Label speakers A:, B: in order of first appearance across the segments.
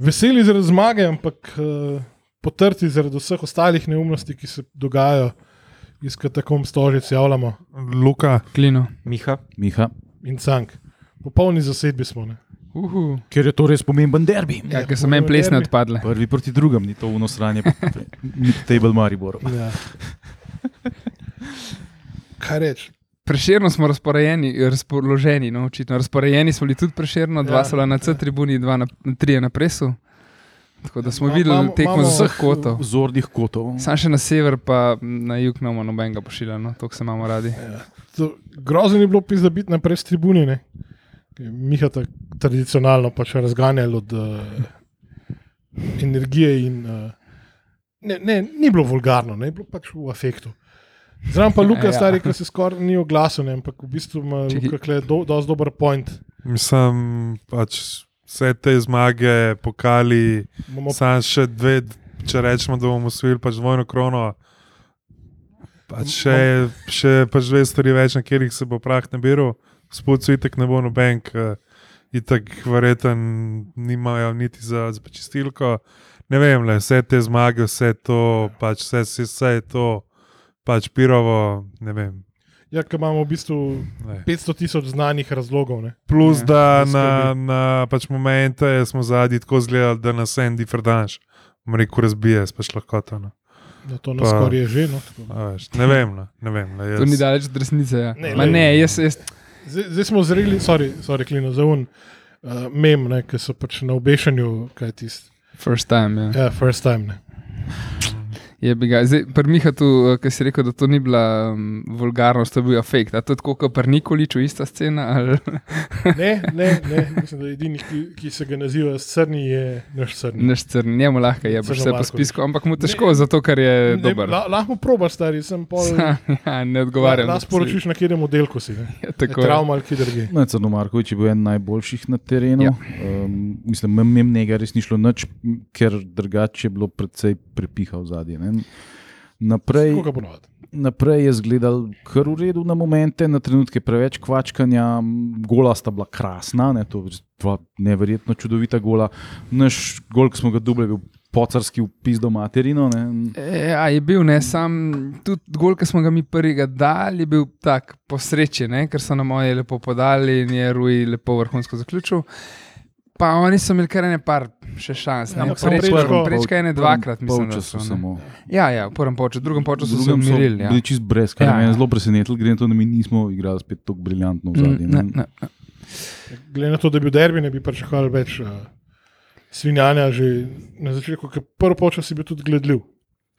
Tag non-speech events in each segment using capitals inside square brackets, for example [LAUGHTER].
A: veseli zaradi zmage, ampak uh, potrti zaradi vseh ostalih neumnosti, ki se dogajajo, iz katakom stožic javljamo
B: Luka,
C: Klino.
D: Miha,
E: Miha.
A: in cank. Popolni zasedbi smo. Ne?
C: Uhu.
E: Ker je to res pomemben derbi.
C: Ja, ker so meni plesne odpadle.
E: Prvi proti drugem, ni to unosranje, table Maribor.
A: Ja. Kaj reči?
C: Preširno smo razporejeni, razpoloženi, no, očitno. Razporejeni smo bili tudi preširno, dva
A: Ja.
C: ja, so bila na C tribuni, dva na, trije na presu. Tako da smo
A: Ma-
C: videli
A: imamo-
C: tekmo
A: imamo-
C: z vseh kotov.
E: Zornih kotov.
C: Sam še na sever, pa na jug imamo nobenega pošilja, no, to se imamo radi.
A: To- Grozen je bilo pis, da biti naprej s tribune. Ne? Miha ta tradicionalno pač razganjal od uh, energije in uh, ne, ne, ni bilo vulgarno, ne je bilo pač v afektu. Zdaj pa Luka,
C: [LAUGHS]
A: ja.
C: Ja.
A: stari, ki se skoraj ni oglasil, ne, ampak v bistvu ima
C: Čekaj.
A: Luka kle do, dosti dober point.
B: mislim, pač vse te zmage, pokali,
A: Bomo
B: samo še dve, če rečemo, da bomo osvojili pač dvojno krono. Pač še, še pač dve stvari več, na katerih se bo prah nabiral, spucu itek ne bo noben, ker itek verjeten nimajo niti za, za čistilko. Ne vem, le, vse te zmage, vse to, pač vse, vse, vse je to, pač pirovo, ne vem.
A: Ja, ker imamo v bistvu
B: Ne.
A: 500 tisoč znanih razlogov. Ne?
B: Plus,
C: Ja,
B: da
A: to
B: na,
A: skrbi.
B: na pač momente smo zadnji tako zgledali, da nas Andy Ferdanš, mreko razbije, s pač lahkoto. No.
A: No, to nas
B: Pa-
A: skoraj je že. No, tako da.
B: A veš, Ne vem, no. ne vem. No.
C: To ni
B: Jaz,
C: daleč od resnice. Ja.
A: Ne,
C: Ne, Ma,
A: lej.
C: ne, jaz, jaz,
A: Zdaj zdaj smo zreli, sorry, sorry klino, za un uh, mem, ne, ki so pač na obešanju, kaj tisti.
C: first time. Ja.
A: Ja, first time. Ne.
C: Je bi ga. Zdaj, pri Miha tu, ki si rekel, da to ni bila um, vulgarnost, to je bil afekt. A to je tako kot pri Nikoliču, ista scena. Ali...
A: Ne, ne, ne, mislim, da je edini, ki, ki se ga naziva srni, je naš srni.
C: Neš crn, njemu lahko je, boš vse po
A: Crnomarkovič.
C: spisku, ampak mu težko,
A: Ne.
C: ne, zato ker je ne, e, dober.
A: la, lahko probaš, stari, sem pol.
C: [LAUGHS] ja, ne odgovarjam.
A: Nas poročiš, na katerem oddelku si. Ne?
C: Ja,
A: Je
C: tako je.
A: Travma ali kje drugje.
E: Na Crno Markovič je bil eden najboljših na terenu.
C: Ja.
E: Ja. Um, mislim, mem njega res ni šlo nič, m, ker drugače je bilo precej prepihal zadnje. Naprej,
A: Koga ponovadi?
E: naprej je izgledal kar v redu na momente, na trenutke preveč kvačkanja, m, gola sta bila krasna, ne, to res dva neverjetno čudovita gola. Naš gol, ki smo ga dubli, je bil pocarski upis do materino. Ne.
C: Ja, je bil ne sam, tudi gol, ki smo ga mi prvega dali, je bil tak posrečen, ne, ker so nam oni lepo podali in je Rui lepo vrhunsko zaključil. Pa oni so imeli kar ene par še šans, ne,
A: Ja, ampak samo
C: prečka,
A: prečko-
C: prečka ene dvakrat, mislim, da so.
E: Polčasu
C: ne.
E: samo.
C: Ja, ja, v prvem poču, v drugem poču so se
E: Drugem so
C: umirili. Ja.
E: Bili čist brez, kar
C: Ja,
E: ja. me
C: ja.
E: je zelo presenetilo, glede na to, da mi nismo igrali spet tako briljantno v
C: Mm,
E: zadnji.
C: ne, ne, ne.
A: Glede na to, da je bil derbi, ne bi pričakoval več uh, svinjanja že na začetku, ker prvo počas si bil tudi gledljiv.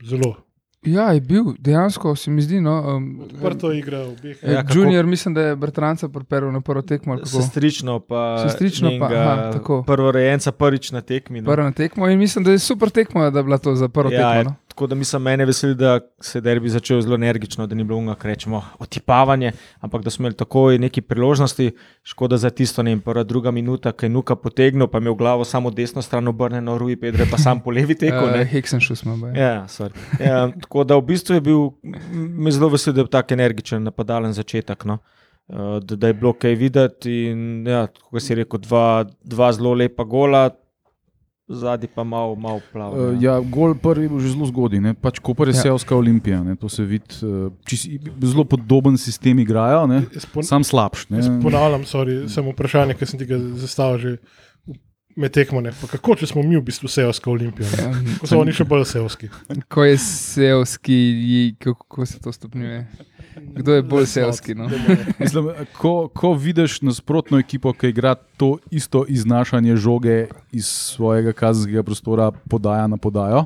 A: Zelo.
C: Ja, je bil, dejansko se mi zdi. No, um,
A: Odprto igra obeh.
C: eh,
D: Ja, kako-
C: junior, mislim, da je Bratranca pripeljal na prvo tekmo. ali kako?
D: sestrično, pa
C: Sestrično pa,
D: njenega
C: aha, tako.
D: prvorojenca prvič na tekmi. No.
C: Prvo na tekmo in mislim, da je super tekmo, da je bila to za prvo
D: Ja,
C: tekmo.
D: je,
C: No?
D: tako da mislim, mene veseli, da se je derbi začel zelo energično, da ni bilo unak, rečemo, otipavanje, ampak da smo imeli takoj neki priložnosti. Škoda za tisto, ne vem, prva, druga minuta, ki je nuka potegnil, pa je imel glavo samo desno stran obrnjeno, Rui Pedro je pa sam po levi tekel.
C: Eh,
D: ne.
C: Heksenšu smo bili.
D: Ja, sorry. ja, tako da v bistvu je bil, me zelo vesel, da je bil tako energičen, napadalen začetek. No. Eh, Da, da je bilo kaj videti. In, ja, kot si rekel, dva, dva zelo lepa gola, zadnji pa malo, malo plava.
E: Uh, ja, gol prvi je bil že zelo zgodaj, ne. pač Koper je
C: Ja.
E: ja. Sevska olimpija, ne. to se vidi, uh, čist- zelo podoben sistem igrajo, ne.
A: Jaz pon-
E: sam slabš. Ne.
A: Jaz ponavljam, sorry, samo vprašanje, ki sem ti ga zastavil že med tekmone. Pa kako če smo mi v bistvu sevska olimpija? ne?
C: Ja,
A: Ko so oni še bolj sevski.
C: Ko je selski, ji- kako kako se to stopnjuje? Kdo je bolj selski? No?
E: [LAUGHS] Mislim, ko, ko vidiš nasprotno ekipo, ki igra to isto iznašanje žoge iz svojega kazenskega prostora, podaja na podajo,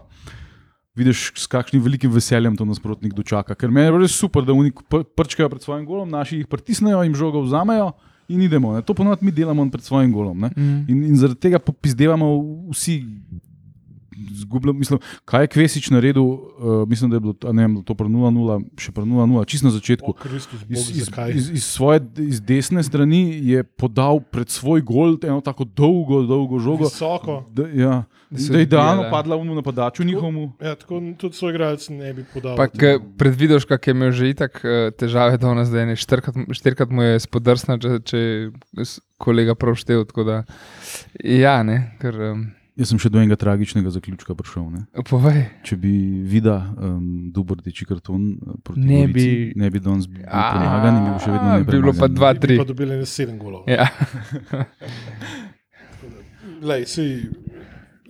E: vidiš, s kakšnim velikim veseljem to nasprotnik dočaka. Ker meni je res super, da oni pr- prčkajo pred svojim golom, naši jih pritisnejo, jim žogo vzamejo. In idemo, ne. to ponovadi mi delamo pred svojim golom. ne.
A: Mhm.
C: Mm.
E: In, in zaradi tega popizdevamo vsi. Zgubljam, mislim, kaj je Kvesič naredil, uh, mislim, da je bilo to, a ne, vem, to pri 0-0, še pri 0-0, čisto na začetku. Iz, iz, iz, iz svoje iz desne strani je podal pred svoj gol eno tako dolgo, dolgo žogo.
A: Visoko.
E: Da, ja,
C: Da se
E: da je idealno
C: odbijala.
E: padla v napadaču njihovemu.
A: Ja, tako tudi svoj igralec ne bi podal.
C: Pa, ke predvidiš, kak je imel že itak eh, težave, da nas zdaj ne štirikrat, štirikrat mu je spodrsnil, če, če je s- kolega prav štev. tako Da, ja, ne, ker um,
E: Jaz sem še do enega tragičnega zaključka prišel. Ne?
C: Povej.
E: Če bi videl um, dober deči karton eh, proti
C: Ne
E: Gorici,
C: bi-
E: ne bi danes bil
C: A,
E: premagan in bil še vedno
C: Bi bilo pa
E: nepremagan.
C: dva, tri.
A: Pa dobili ne sedem golov.
C: Ja.
A: Lej, sej,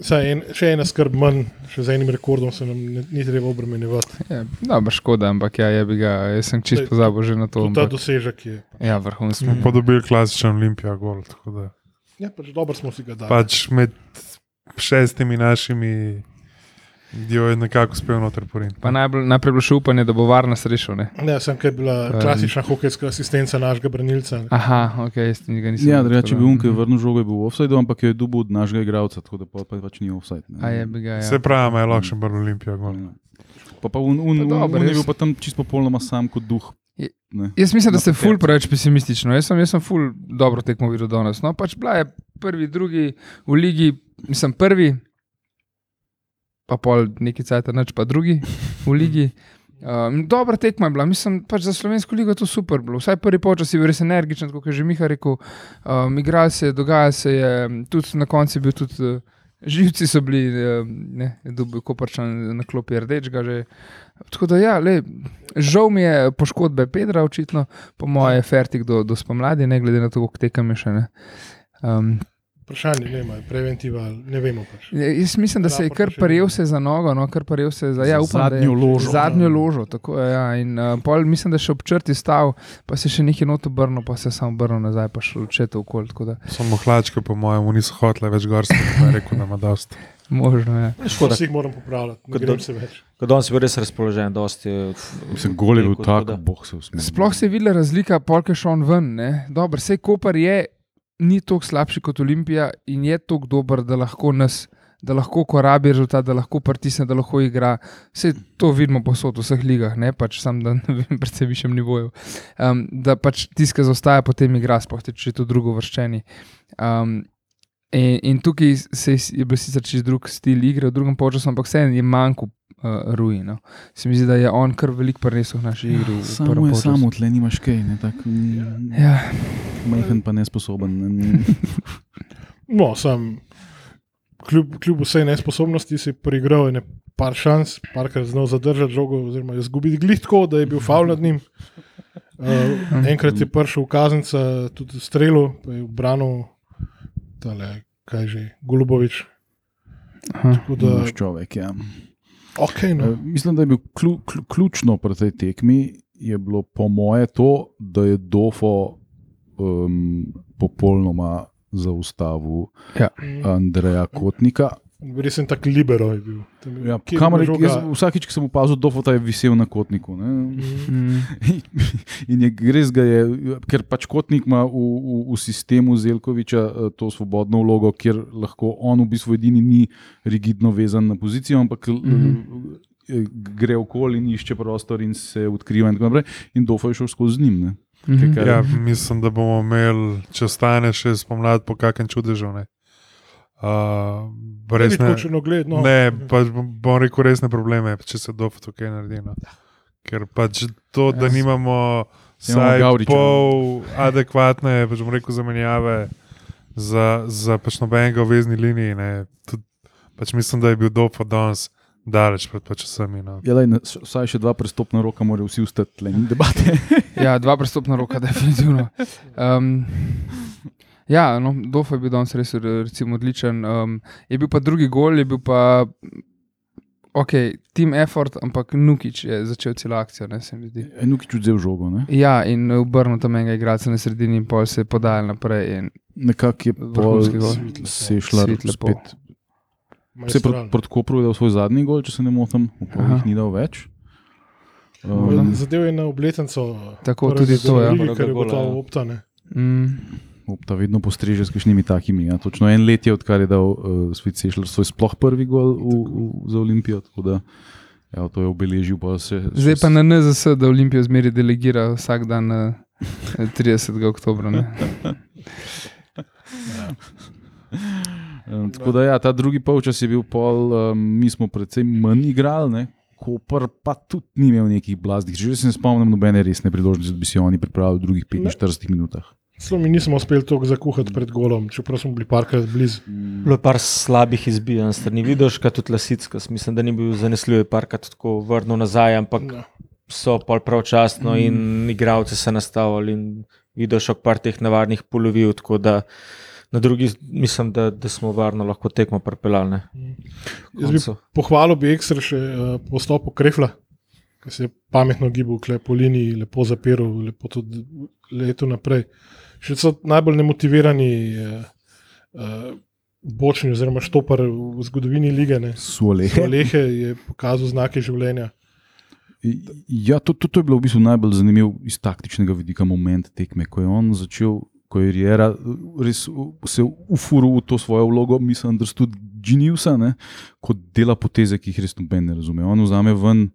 A: saj en, še ena skrb manj, še z enim rekordom se nam ne, ni treba obremenjevati.
C: Ja, Dobro, škoda, ampak ja, je bi ga, jaz sem čist
A: Saj,
C: pozabil že na to.
A: Tudi ta
C: Ampak,
A: dosežek je.
C: ja, vrhunsko.
B: Pa dobil klasičen Olimpija gol. tako da.
A: Ja, pač dobro smo si ga dali.
B: Pač med šestimi našimi jo je nekako uspel noter no. porinti.
C: Pa najbolj, najprej je bilo še upanje, da bo varno srešil. Ne?
A: Ne, sem kaj bila
C: Em.
A: klasična hokejska asistenca našega branilca.
C: Aha, ok, jaz tega nisem.
E: Ja,
C: videl,
E: drugače,
C: tako
E: če
C: da-
E: bi unke vrnil žogo, je bil offside, ampak jo je dubu od našega igralca, tako da pa, pa pač ni offside. ne. Ja.
C: A je bi ga,
B: Se
C: ja.
B: pravi, ima je lahko še bolj Olimpija gol.
E: Pa, pa un, un,
C: Pa
E: un,
C: dobro,
E: un je
C: jaz-
E: bil pa tam čisto popolnoma sam kot duh.
C: Je-
E: Ne.
C: Jaz mislim, da
E: Na
C: ste
E: parketu.
C: ful preveč pesimistično. Jaz sem, jaz sem ful dobro tekmo videl danes. No, pač bila je prvi, drugi v ligi, mislim prvi, pa pol neki cajt, noč pa drugi v
E: [LAUGHS]
C: ligi. Um, dobra tekma je bila, mislim, pač za slovensko ligo je to super bilo. Vsaj prvi počas je bil res energičen, kot je že Miha rekel. Um, igral se je, dogajal se je, tudi na koncu je bil tudi. Uh, Živci so bili, eh, ne, dobil koprčan na klopi rdečega. Že. Tako da, ja, le, žal mi je poškodbe Pedra, očitno, po
E: Ja.
C: mojem, je fertik do, do spomladi, ne glede na to, koliko tekam je še ne. Um,
A: Vprašanje ne ima, preventiva, ali ne vemo pač.
C: jaz mislim, da se je kar prijel se za nogo, no, kar prijel se za, ja,
E: Za
C: upam, da je-
E: zadnjo ložo.
C: Zadnjo ložo, tako je. Ja. In, uh, pol, mislim, da je še ob črti stal, pa se je še nekaj not obrnil, pa se je sam obrnil nazaj, pa še očete okoli. Tako da,
B: Samo hlačke, po mojem, niso hotele več gor, sem rekel, da ima dost.
C: možno ja. je.
D: Škoda,
A: Vsi jih moram popravljati, ne
D: Kot
A: grem
D: da-
A: se več.
D: ker danes je bil res razpoložen, dosti.
E: Mislim, gol je bil tak,
D: Škoda.
E: boh se usmeji.
C: Sploh se je videla razlika, polk je šel on ven. ne. Dobro, sej Koper je ni toliko slabši kot Olimpija in je toliko dober, da lahko nas. Da lahko korabi rezultat, da lahko pritisne, da lahko igra. Vse to vidimo posod v vseh ligah, ne pač sam, da ne vem, [LAUGHS] predvsem višjem nivoju. Um, da pač tiska zaostaja, potem igra, sploh te, če je to drugo vrščeni. Um, in, in tukaj se je, je bil sicer čez drug stil igre, v drugem času, ampak vseeno je manjko uh, ruino. Se mi zdi, da je on kar velik prenesel v naši igri. v
E: Ja, Samo
C: prvem
E: je
C: polčasu.
E: samo, tle nimaš kaj, ne tako ja.
C: Ja,
E: majhen pa nesposoben. Ne.
A: No, sam, kljub, kljub vsej nesposobnosti si je preigral ene par šans, parkrat znal zadržati žogo, oziroma jo izgubiti glitko, da je bil faul nad njim. Uh, enkrat je prišel kaznica, tudi strelo, pa je obranil, tale, kaj že, Golubovič. Tako da,
E: Naš človek, ja.
A: ok, no.
E: Eh, Mislim, da je bil klju, klju, ključno pri tej tekmi, je bilo po moje to, da je Dofo um, popolnoma zaustavil
C: Ja.
E: Eh, Andreja Kotnika.
A: Res sem tak libero je bil. Tam je-
E: Ja,
A: kje je
E: kamar,
A: bila žoga?
E: jaz, vsakič, ko sem opazil, Dofo ta je visel na Kotniku. Ne?
A: Mhm.
E: In je res ga je, ker pač kotnik ima v, v, v sistemu Zelkoviča eh, to svobodno vlogo, kjer lahko on v bistvu edini ni rigidno vezan na pozicijo, ampak mm
C: Mhm.
E: -hmm. gre okoli in išče prostor in se odkriva. In, tako naprej. in Dofo je šel skozi z njim. Ne?
C: Mhm.
E: Kaj,
B: Ja,
E: ja.
B: mislim, da bomo imeli, če stane še spomladi, po kakem čudežu. Ne, uh,
A: Ne
B: res
A: bi
B: ne,
A: tako črno gledal, no.
B: ne pač bom bom rekel resne probleme, če se dof tukaj naredi. No. Ker pač to, da
C: Ja, s-
B: nimamo
E: Imamo
B: vsaj
E: Gavriča.
B: pol adekvatne, pač bom rekel, zamenjave za, za pač nobenega v vezni liniji. Ne. Tud, pač mislim, da je bil dof od danes daleč pred pač vsemi. No.
E: Ja, daj, na- s- vsaj še dva prestopna roka morajo vsi ustati, le ni debate.
C: [LAUGHS] Ja, dva prstopna roka, definitivno. Um, ja, no, Dof je bil danes res re- recimo, odličen. Um, je bil pa drugi gol, je bil pa. Ok, team effort, ampak Nukič je začel celo akcijo, ne se mi zdi.
E: Enuki čudzel žogo. Ne?
C: Ja, in obrnil tam enega igralca na sredini, in pol se je podal naprej. In,
E: Nekako je pol
C: Vrhunski gol.
E: sešla
C: Svetlo pol.
E: spet. Se je proti
A: Maestralno.
E: prot Kopru dal svoj zadnji gol, če se ne motim,
C: Aha.
E: ukvarjal ni dal več.
C: Morda.
E: Um,
A: Zadev je na obletnico.
C: Tako,
A: prvega
C: tudi to, ja.
E: Torej,
A: Lige, Torej, Ker
D: Prvega
A: je
D: gola,
A: gotovo
D: ja.
A: optane.
C: mm,
E: Opta vedno postreže s kakšnimi takimi. Ja. Točno en let je, odkar je dal uh, Svet Sešljar svoj sploh prvi gol v, v, za Olimpijo. tako Da, ja, to je obeležil. Pa se,
C: zdaj pa na NZS, da Olimpijo zmeri delegira vsak dan eh, 30. oktober.
E: Um, tako da ja, ta drugi polčas je bil pol, um, mi smo precej manj igrali, ne? Koper pa tudi ni imel nekih blaznih. Že se ne spomnim nobene resne priložnosti, da bi si oni pripravili v drugih 45 minutah.
A: Celo mi nismo uspeli toliko zakuhati pred golom, čeprav smo bili parkrat blizu.
D: Bilo je par slabih izbijanj, strani vidiš, kot tudi Lasicka. Mislim, da ni bil zanesljiv, je parkrat tako vrnil nazaj, ampak
A: Ja.
D: so pol
C: Mm.
D: pravčasno in igravci se nastavili in vidiš ok par teh navadnih polovil, tako da na drugi mislim, da, da smo varno lahko tekmo prepeljali.
A: Jaz bi pohvalil bi ekstra še uh, postop Krefla, ki se je pametno gibal tukaj po liniji, lepo zapiral, lepo tudi leto naprej. Še so najbolj nemotivirani uh, uh, bočni, oziroma štopar v zgodovini lige.
E: [LAUGHS]
A: Ne.
E: Sole.
A: Lehe je pokazal znake življenja.
E: Ja, to, to, to je bilo v bistvu najbolj zanimiv iz taktičnega vidika moment tekme, ko je on začel. Ko je Riera uh, res u- se ufuril v to svojo vlogo, mislim, da tudi Geniusa, ne, ko dela poteze, ki jih res noben ne razume. On vzame ven,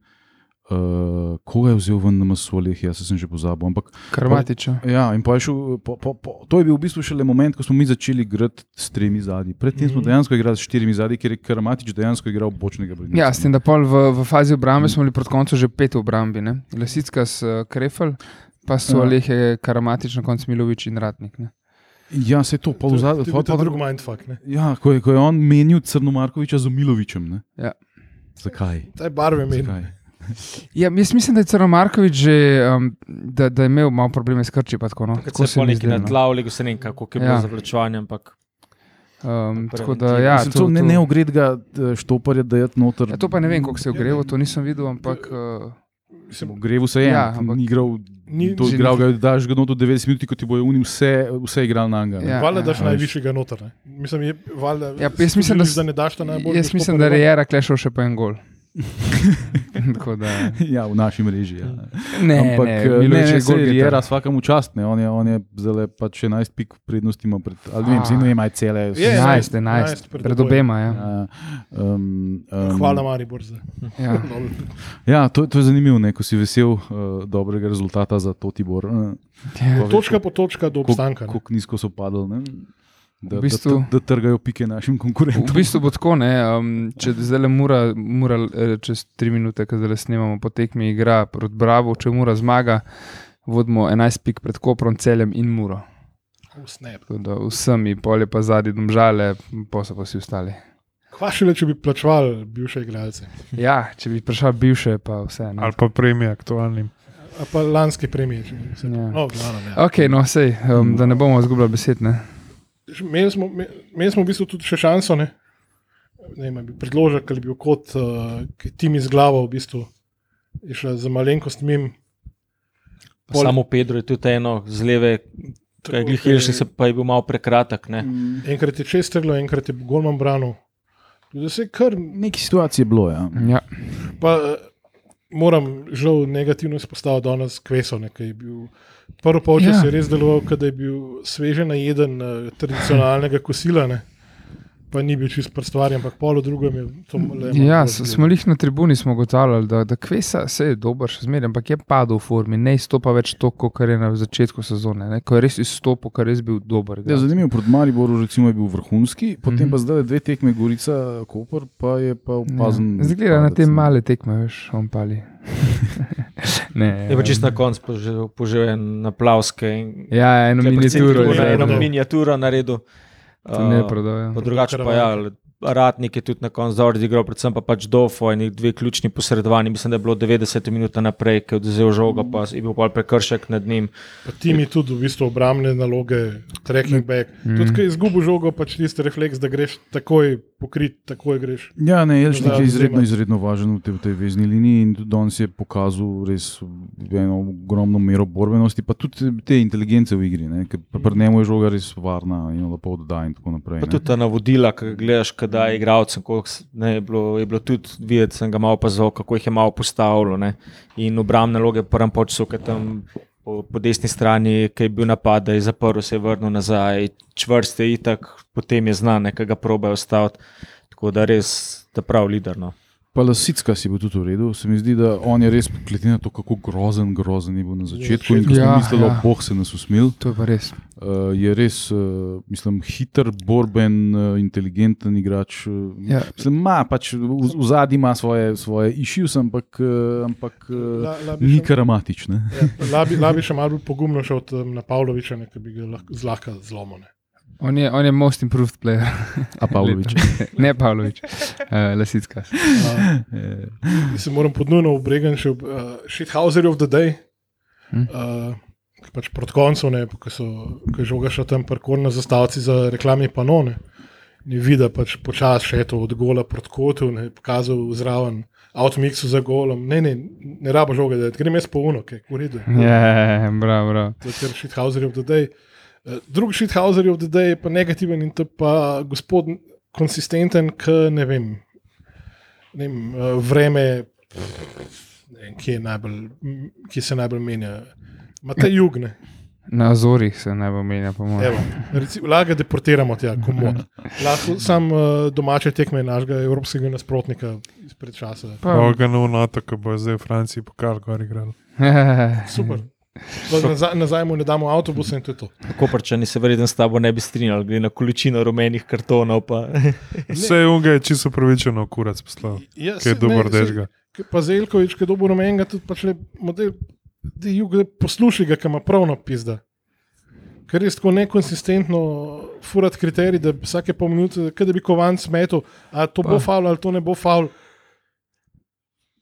E: uh, koga je vzel ven na masolih, jaz se sem že pozabil, ampak
C: Karmatiča.
E: Ja, in pa je šel, po, po, po, to je bil v bistvu šele moment, ko smo mi začeli igrati s tremi zadnji. Predtem smo dejansko igrali s štirimi zadnji, ker je Karamatič dejansko igral bočnega brenja.
C: Mhm. Ja, s tem, da pol v, v fazi obrambe smo bili proti koncu že pet obrambi, ne? Lesicka s eh, Krefel, pa so
E: Ja.
C: ja. Lehe, Karamatič, na koncu Milovič in Ratnik. Ne?
E: ja se je to, pa v zadnjem.
A: To je ta drug mindfuck. Ne.
E: Ja, ko je, ko je on menil Crnomarkoviča z Omilovičem. Ne?
C: Ja.
E: Zakaj?
A: Taj barve meni.
E: Zakaj?
C: Ja, jaz mislim, da je Cero Markovič že, um, da, da je imel malo probleme s krči. Pa, tako, no.
D: Kot
C: Tako
D: se
C: se
D: je
C: mi zdi,
D: nekaj
C: no.
D: natlavljal, se ne vem, kako je bilo
C: Ja.
D: ja. zavlačevanje, ampak
C: Um,
D: Pa
C: tako da,
D: preventiva.
C: ja,
E: Mislim, to, ne, ne ogred ga eh, štoparja, da je noter.
C: ja, to pa ne vem, koliko se je ogreval, to nisem videl, ampak uh,
E: Grevu se je,
C: Ja,
E: ja,
C: ampak-
E: ni igral,
A: Ni-
E: ni, to
C: že
E: igral ga, je, daš ga noto 90 minut, ko ti bojo uni vse, vse igral na njega.
C: Ja,
A: Hvala,
C: ja,
A: daš
E: ja.
A: najvišjega noter. Ne. Mislim, je, valjda,
C: Ja, pa jaz mislim, da
A: želiš,
C: s-
A: da ne daš ta najbolj.
C: jaz mislim, da je Jera klešal še pa en gol. tako da,
E: [LAUGHS] ja, v naši mreži. Ja.
C: ne,
E: Ampak,
C: ne,
E: eh, ne,
C: Milovič je
E: ne, ne,
C: golgeter.
E: Riera vsakemu čast, ne, on je, on je zdaj pač 11 pik prednosti ima pred, ali ne vem,
C: Ah.
E: zimno ima cele. Ja, vse.
A: Je,
C: 11,
A: 11,
C: 11,
A: pred
C: pred
A: obojim.
C: obema. Ja.
E: Ja, um, um,
A: Hvala, Maribor. Za.
C: Ja.
E: Ja, to, to je zanimivo, ne, ko si vesel uh, dobrega rezultata za Totibor. Uh,
C: Ja.
A: Točka po točka do obstanka. ne.
E: Kako nizko so padali, ne? Da,
C: V bistvu-
E: v bistvu, da, da, da trgajo pike našim konkurentom.
C: V bistvu bo tako, ne, um, če zdaj le mora, mora eh, čez tri minute, ki zdaj snemamo po tekmi, igra proti Bravo, če mora zmaga, vodimo 11 pik pred Koprom, celem in muro.
A: Oh, snap.
C: Tako da Vsemi, polje pa zadnji domžale, pa so pa vsi ostali.
A: Kva šele, če bi plačevali bivše igralce.
C: Ja, če bi prišel bivše, pa vseeno.
B: ali pa premije aktualnim.
A: A pa lanske premije. če se-
C: Ja.
A: No, v glavnem, ja.
C: Ok, no, sej, um, da ne bomo izgubljali besed. Ne?
A: Že Imeli smo, me- imeli smo v bistvu tudi še šanso, ne, ne vem, a bi predložek ali bi bil kot uh, tim iz glave, v bistvu je šla za malenkost mim. Pol-
D: samo Pedro je tudi eno z leve,
A: Tako,
D: kaj glih
A: ker je-
D: Ilšnik se pa je bil malo prekratek. Ne?
C: Mm.
A: Enkrat je čestrlo, enkrat je Golman branil. Tudi se kar,
E: Nekaj situacij je bilo, ja.
C: Ja.
A: pa eh, moram žal negativno izpostaviti danes Kveso, ne, ki je bil. Prvo polčas
C: Ja.
A: ja. je res deloval, kot da je bil sveže najeden eh, tradicionalnega kosila, ne. pa ni bil čist prstvar, ampak polo drugem je to le.
C: Ja, s- smo jih na tribuni smo ugotavljali, da, da Kvesa se je dober še zmeraj, ampak je padel v formi, ne izstopa več to, kar je na začetku sezone, ne? ko je res izstopil, kar je res bil dober.
E: Ja, zanimivo, proti Mariboru recimo, je bil vrhunski,
C: Mhm.
E: potem pa zdaj dve tekme, Gorica, Koper, pa je pa opazen.
C: Ja. Zdaj gleda na
E: padec,
C: te
E: ne.
C: male tekme, veš, on pali. [LAUGHS] ne,
D: Je Ja, pa čist na koncu požel, požel en aplavske in
C: Ja, eno
D: Tukaj predvsem
C: miniaturo
D: tako
A: je
D: na eno
A: naredil.
D: miniaturo naredil.
C: To ne
D: Uh,
C: prodajo.
D: pa Drugače pa ja, le- Ratnik je tudi na koncu dobro odigral, predvsem pa pač Dofo in dve ključni posredovanji. Mislim, da je bilo 90 minut naprej, ki je odvzel žogo, pa je bil pol prekršek nad njim.
A: Pa ti mi tudi v bistvu obrambne naloge, trekking back. Mm. Tudi, ki izgubiš žogo, pač tisti refleks, da greš takoj pokrit, takoj greš.
E: Ja, ne, Jelšnik
A: Zdaj,
E: je izredno,
A: zdaj-
E: izredno važen v tej, v tej vezni liniji in tudi danes je pokazal res eno ogromno mero borbenosti, pa tudi te inteligence v igri, ne, ker pri njemu je žoga res varna in jo lepo odda in tako naprej.
D: Pa
E: ne.
D: tudi ta navodila, ki ga gledaš, kaj da je igralcem, koliko s- ne, je, bilo, je bilo tudi videti, sem ga malo opazil, kako jih je malo postavilo. Ne. In obrambne loge, prvem počsu, ki tam po, po desni strani, ki je bil napad, da je zaprl, se je vrnil nazaj, čvrst je itak, potem je znan, nekaj ga probejo staviti. Tako da res, da prav no. liderno.
E: Pa Lasicka si bo tudi v redu. Se mi zdi, da on je res, glede na to, kako grozen, grozen je bil na začetku in ko smo
C: Ja,
E: mislili, da
C: ja.
E: boh se nas usmil,
C: To je pa res.
E: uh, je res, uh, mislim, hiter, borben, uh, inteligenten igrač. Uh,
C: Ja.
E: Mislim, ima pač v, v zadnji ima svoje, svoje issues, ampak, eh, ampak eh,
A: La- Labiša-
E: ni karamatič. Ne?
A: Ja, Labi, labi še malo bolj pogumno šel od um, Napavloviča, ne, ki bi ga lahko zlahka zlomil. ne.
C: On, je, on je most improved player, [LAUGHS]
E: A Pavlovič. [LAUGHS]
C: ne
D: [LAUGHS]
C: Pavlovič, uh, Lasicka.
A: Uh,
E: Eh,
A: jaz se moram podnujno obregati še ob uh, Shithauserju of the Day.
C: Hm.
A: Uh, ki pač proti koncu, ne, ko so ko je žoga še tam parkorna zastavci za reklamni panone. Ne vidi pač počasi še to od gola proti kotu, ne pokazal zraven avtomiksu za golom. Ne, ne, ne rabo žoga, da grem jaz po uno, ki je v redu.
C: Ja, bravo, bravo.
A: to je kar Shithauser of the Day. Eh, Drugi Shithauser of the Day je pa negativen in to je pa gospod konsistenten, ki ne vem, ne vem eh, vreme, ne vem, ki, je najbolj, m, ki se najbolj menja. Mate jugne,
C: Na Azorih se ne bo menja, po mojem.
A: lahko deportiramo tja, komod. Lahko sam eh, domače tekme našega evropskega nasprotnika izpred časa.
C: Pa,
B: Boga na unato, ko bo zdaj v Franciji pokal gor igral.
C: [LAUGHS]
B: Mhm.
A: Super. Nazaj, nazaj mu ne damo avtobusa in to je to.
D: Koprčani se verjetno s tabo ne bi strinjali, glede na količino rumenih kartonov. Pa,
B: Vse unga je čisto upravičeno, kurac poslal.
A: Ja,
B: Ki je
A: saj-
B: dober
A: ne, saj-
B: dežga.
A: Ke Pa Zelkovič, ki je dobil rumenega, tudi pač le model, da jug le posluši ga, ki ima pravno pizda. Ker je tako nekonsistentno, furat kriterij, da vsake pol minute, kaj da bi kovanc metel, ali to bo
C: Pa.
A: faul ali to ne bo faul.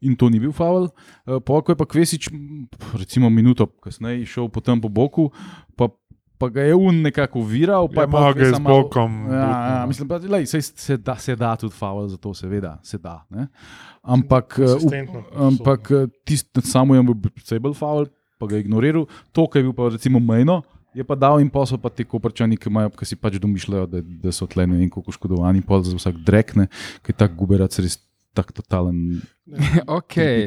E: In to ni bil faul. Eh, Po ko je pa Kvesič, m, recimo minuto kasneje, šel potem po boku, pa, pa ga je un nekako viral. Pa je
B: Ja,
E: pa
B: malo ga je
E: Kvesa
B: z
E: malo-
B: bokom no.
E: Ja, ja,
B: butnil.
E: mislim, pa, lej, sej, se, da, se da tudi faul za to, seveda, se da. Ne? Ampak, eh, v-
A: Konsistentno.
E: ampak eh, tisti samo je bil precej faul, pa ga je ignoriral. To, kar je bil pa recimo mejno, je pa dal in posel pa te koprčani, ki, imajo, ki si pač domišljajo, da, da so tle ne vem koliko škodovani, pol za vsak drekne, ki je tak guberac res tak totalen.
A: Okay,
C: Okej. [LAUGHS]
E: [LAUGHS]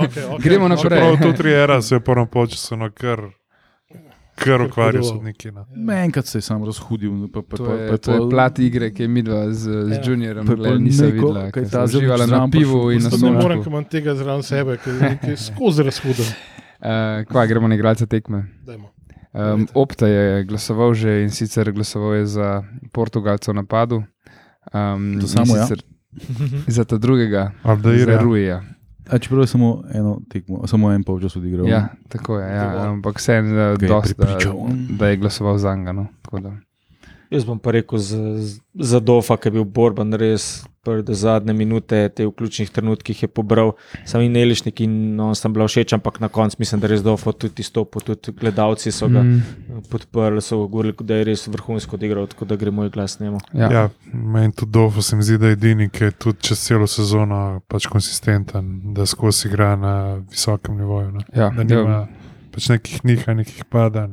A: okay,
C: Gremo naprej.
B: Prav tu No, tri era se je prvo počasno, no, kar, kar ukvarja
A: hudo.
B: sodniki. no. Ne.
E: Enkrat se je sam razhudil, no, pa, pa,
C: To
E: pa, pa,
C: je, to je plat igre, ki je midva z, z
A: Ja.
C: Juniorom,
E: Pa je
C: glej,
E: pol
C: nisem
E: neko,
C: videla,
E: kaj
C: ker
E: ta
C: sta
E: zadnjič
C: uživala na
E: zraven prišel,
C: pivu in na
A: Zato ne morem, ker
C: sončku.
A: imam tega zraven sebe, ker je nekaj skozi razhuden.
C: Eh, Kva, gremo na igralca tekme.
A: Dajmo.
C: Um, Opta je glasoval že in sicer glasoval je za Portugalca v napadu. Um,
E: To samo, ja.
C: Za ta drugega, za
B: Abdeira.
C: Ruija.
E: A čeprav je samo eno tekmo, samo en polčas odigral.
C: Ja, tako je. Ja.
A: Dovolj.
C: Ampak vseeno,
E: Ga je
C: dosti, da,
E: prepričal.
C: da je glasoval za njega. No. Tako da.
D: [LAUGHS] jaz bom pa rekel za, za Dofa, ki je bil borben res prve do zadnje minute, te v ključnih trenutkih je pobral, sam in nelišnik in on sem bila všeč, ampak na koncu mislim, da je res Dofa tudi izstopil, tudi gledalci so ga
C: Mm,
D: podprli, so ga govorili, da je res vrhunsko odigral, tako da gre moj glas njemu.
C: ja. Ja.
B: Ja, meni tudi Dofo se mi zdi, da je edini, ki je tudi čez celo sezono pač konsistenten, da skozi igra na visokem nivoju. Ne.
C: Ja,
B: Da nima pač nekih nihanj, nekih padanj.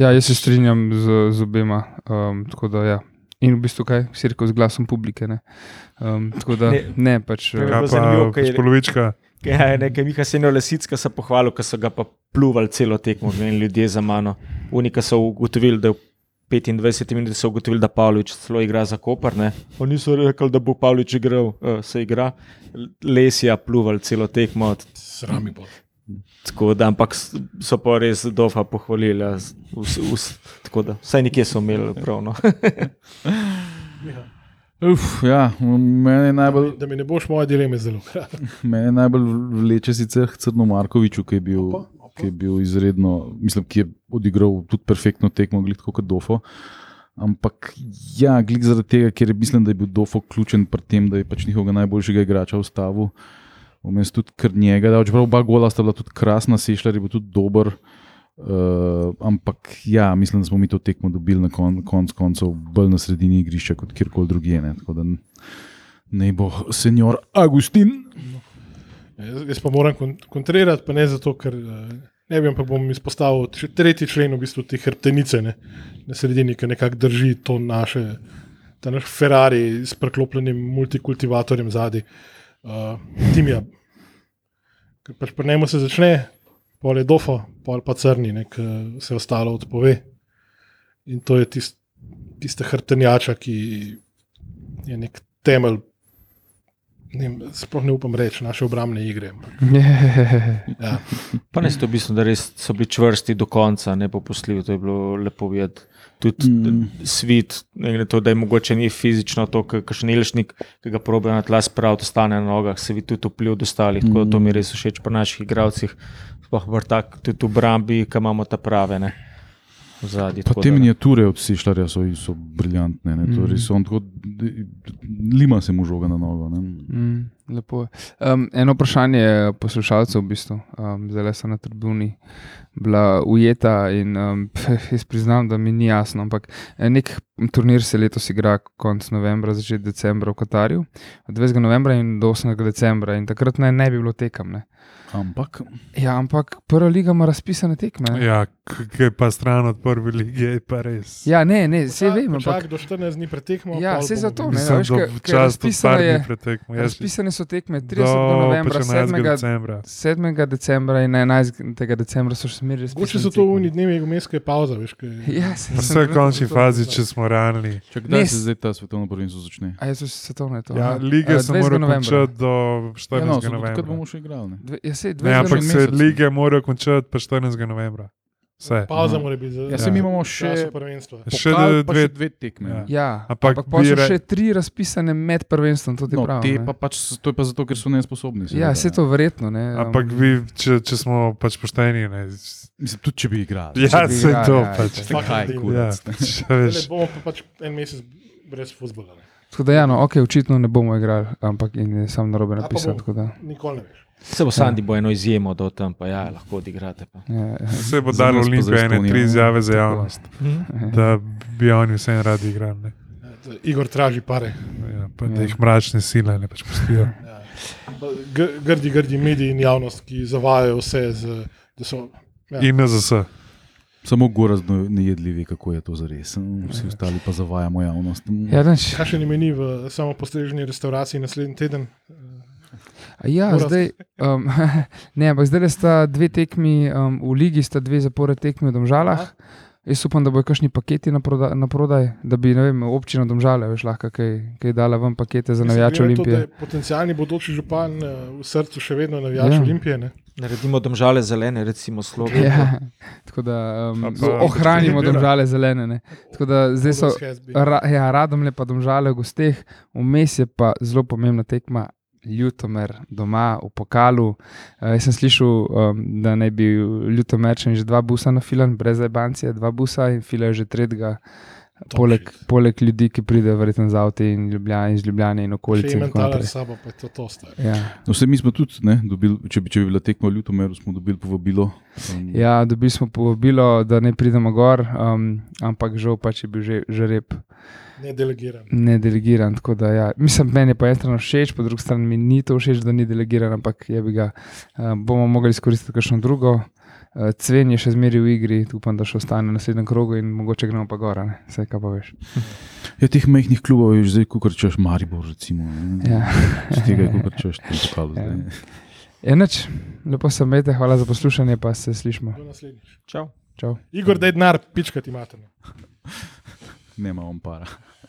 C: ja, jaz se strinjam z, z obema. Um, tako da, ja. In v bistvu kaj, si rekel z glasom publike. Ne, um, tako da, ne,
D: Ne.
C: ne pač. eh,
D: Ne, bilo
B: Kaj
C: [LAUGHS]
D: zanimivo,
B: pa
D: kaj je-
B: polovička?
D: Ja, nekaj Miha Senjo Lesicka so pohvalil, ker so ga pa pluvali celo tekmo in ljudje za mano. Unika so ugotovili, da je v 25 minutah so ugotovili, da Pavlič celo igra za Koper. Ne? Oni so rekli, da bo Pavlič igral, uh, se igra. Lesija pluvali celo tekmo, t-
A: Srami bo.
D: tako da, ampak s- so pa res dofa pohvalili. ja, s- vs- vs- Tako da, vsaj nekje so imeli no. pravno.
E: Uf, ja, meni je najbolj.
A: Da mi ne boš moje dileme zelo.
E: Mene najbolj vleče sicer k Crnu Markoviču, ki je bil, ki je bil izredno, mislim, ki je odigral tudi perfektno tekmo, glih tako kot Dofo. Ampak ja, glih zaradi tega, ker je, mislim, da je bil Dofo ključen pri tem, da je pač njihovega najboljšega igrača ustavil. Vmes tudi kar njega, da čeprav oba gola sta bila tudi krasna, Sešljar je bil tudi dober. Uh, ampak ja, mislim, da smo mi to tekmo dobili na kon, koncu koncev bolj na sredini igrišča kot kjerkoli drugje. Ne, Tako da n- naj bo senjor Agustin.
A: Jaz, jaz pa moram kon- kontrirati, pa ne zato, ker eh, ne vem, pa bom izpostavil še tretji člen, v bistvu te hrbtenice ne, na sredini, ki nekako drži to naše, ta naš Ferrari s preklopljenim multikultivatorjem zadaj, uh, Timija. Ker pač pri njemu se začne, pol je dofo, pol pa crni, nek se ostalo odpove. In to je tist, tista hrbtenjača, ki je nek temelj. Ne, vem, sploh ne upam reči naše obrambne igre. ampak Ja.
D: Pa ne, to je bistvo, da res so bili čvrsti do konca, ne popustljivi, to je bilo lepo videti. Tudi mm. svet, to, da je mogoče ni fizično to, kar še nelišnik, ki ga probejo na tla spraviti, ostane na nogah, se vidi tudi vpliv od ostalih. Mm. Tako da to mi res všeč pri naših igralcih, sploh pa tak, tudi v Brambi, ki imamo ta prave. Ne. v Zadnji,
E: Pa te miniature od Sišljarja so, so briljantne. Ne? Torej so on tako, d- lima se mu žoga na nogo. Ne?
C: Mm, lepo je. um, eno vprašanje poslušalcev, v bistvu, um, zdaj so na tribuni bila ujeta. In, um, [LAUGHS] jaz priznam, da mi ni jasno, ampak eh, nek turnir se letos igra konec novembra, začetek decembra v Katarju, od 20. novembra in do 8. decembra, in takrat naj ne bi bilo tekem. Ne?
E: Ampak
C: Ja, ampak prva liga ima razpisane tekme.
B: Ja, ki je pa stran od prve lige, je pa res.
C: Ja, ne, ne, vse vem. Ampak,
A: Čak, do 14 dni pretekmo.
C: Ja,
A: pol
C: saj
A: bomo
C: zato,
A: videli.
C: ne,
B: Mislim,
C: veš,
B: da
C: ke- ke
B: čas tudi
C: razpisana
B: par dni
C: je-
B: pretekmo. Jaz
C: razpisane so tekme 30.
B: do
C: novembra,
B: 14.
C: 7. [LAUGHS]
B: decembra.
C: 7. decembra in 11. decembra so še zmeraj
A: Mogoče so to uni dnevi, vmeske pauze, veš, kaj.
C: Ja, se
B: Vse v končni fazi, če smo realni.
E: če kdaj
C: Ne,
E: se
C: s-
E: zdaj ta svetovno prvenstvo začne?
C: A je to svetovno je to?
B: Ja,
C: aha.
B: lige
C: Eh,
B: se
C: 20.
B: morajo
C: novembra.
B: končati do
E: Ja, no,
B: 14.
E: takrat
B: novembra.
E: bomo še igrali. Ne?
C: Dve- Ja, se,
B: Ne, ampak se
E: mesec.
B: lige morajo končati pa 14. novembra. Vse.
A: Pauza
C: No.
E: Aha.
A: mora biti za
E: Ja,
B: se
E: se
B: mi
E: mi imamo
A: še
E: še,
A: prvenstvo.
B: Še
E: pokal, pa
B: dve-
E: še dve tekme.
B: Ja.
E: Ja.
C: Ja,
B: Ampak
C: ampak pol so
B: bi re-
C: še tri razpisane med prvenstvom, to ti
E: No,
C: pravi.
E: te pa pač, to je pa zato, ker so nesposobni.
C: Ja,
E: seveda,
C: se
E: ne.
C: to verjetno,
E: ja,
C: ne.
B: Ampak vi, če, če smo pač pošteni, ne.
E: Mislim, tudi no. če bi igrali.
B: Ja,
C: bi
B: se
C: igrali,
B: to
C: ja,
B: pač.
A: Fucking
E: Kaj,
A: thing.
E: kurac.
B: Ja, [LAUGHS] še veš.
A: Zdajle Bomo pa pač en mesec brez futbola. ne.
C: Tako da, ja, no, ok, očitno ne bomo igrali, ampak in je sam narobe
A: A pa
C: napisal.
A: bomo.
C: tako da,
A: Nikoli ne veš.
D: Se bo Sandi bo eno izjemo do tam, pa ja, lahko odigrate. Pa.
C: ja, ja.
B: Se bo
E: Za
B: dalo
E: nas pa
B: Olimpijo
E: za
B: ene
E: Estonijo.
B: tri izjave za javnost,
C: Hm?
E: Hm?
B: da bi oni vse radi igrali. Ne.
A: Ja, Igor traži pare.
B: Ja, pa da jih mračne sile ne pač pustijo.
E: Ja.
A: Gr- Grdi, grdi mediji in javnost, ki zavajajo vse, z, da so
B: In NZS.
E: Samo gorazd nejedljivi, kako je to zares. hm, Vsi ostali pa zavajamo javnost. hm.
C: ja, nič.
A: Kaj še ne meni v samopostreženi restauraciji naslednji teden?
C: A Ja,
A: Gorazd.
C: zdaj, um, [LAUGHS] ne, ampak zdaj sta dve tekmi, um, v ligi sta dve zapore tekmi v Domžalah. Jaz upam, da bojo kakšni paketi na, proda, na prodaj, da bi ne vem, občina Domžale veš, lahko kaj, kaj dala ven pakete za
A: Mislim,
C: navijače
A: glede na to, da
C: Olimpije.
A: je Potencialni bodoči župan eh, v srcu še vedno navijač
C: Ja.
A: ja. Olimpije. Ne?
D: Naredimo domžale zelene, recimo Slovenijo.
C: [LAUGHS] Ja, tako da um,
B: A pa-
C: z- ohranimo domžale zelene. Ne. Tako da zdaj so
A: Bodo shazbi.
C: ra, ja, radom lepa domžale v gosteh, vmes je pa zelo pomembna tekma. Ljutomer doma v pokalu. Uh, jaz sem slišal, um, da naj bi Ljutomerčen že dva busa na filan, brez zabancije, dva busa in filajo že tretjega, poleg,
A: shit.
C: poleg ljudi, ki pridejo verjetno z avti in Ljubljana, iz Ljubljana in
A: Če
C: okolice. in
A: imam
C: tako
A: talar
C: naprej.
A: s sabo, pa je to tosta.
C: Ja.
E: No, vse mi smo tudi, ne, dobili, če, bi, če bi bila tekma v Ljutomeru, smo dobili povabilo. Um,
C: Ja, dobili smo povabilo, da ne pridemo gor, um, ampak žal pač je bil že, že rep
A: Ne delegiram.
C: nedelegiran. tako da Ja. Mislim, meni je po eni strani všeč, po drugi strani mi ni to všeč, da ni delegiran, ampak je bi ga. Um, bomo mogli izkoristiti kakšno drugo. Uh, Cven je še zmeraj v igri, upam, da še ostane na naslednjem krogu in mogoče gremo pa gor, a ne? vse kaj pa veš.
E: Ja, teh mehkih klubov je že zdaj, kot rečeš, Maribor. Recimo, ne.
C: Ja.
E: Z tega je, kot
C: [LAUGHS]
E: rečeš, tam pokalo. zdaj.
C: Ja. Enač, lepo se imejte, hvala za poslušanje, pa se slišmo.
A: Do naslednjič.
D: Čau.
C: Čau.
A: Igor, da je denar, pička ti materna.
E: Nema on para.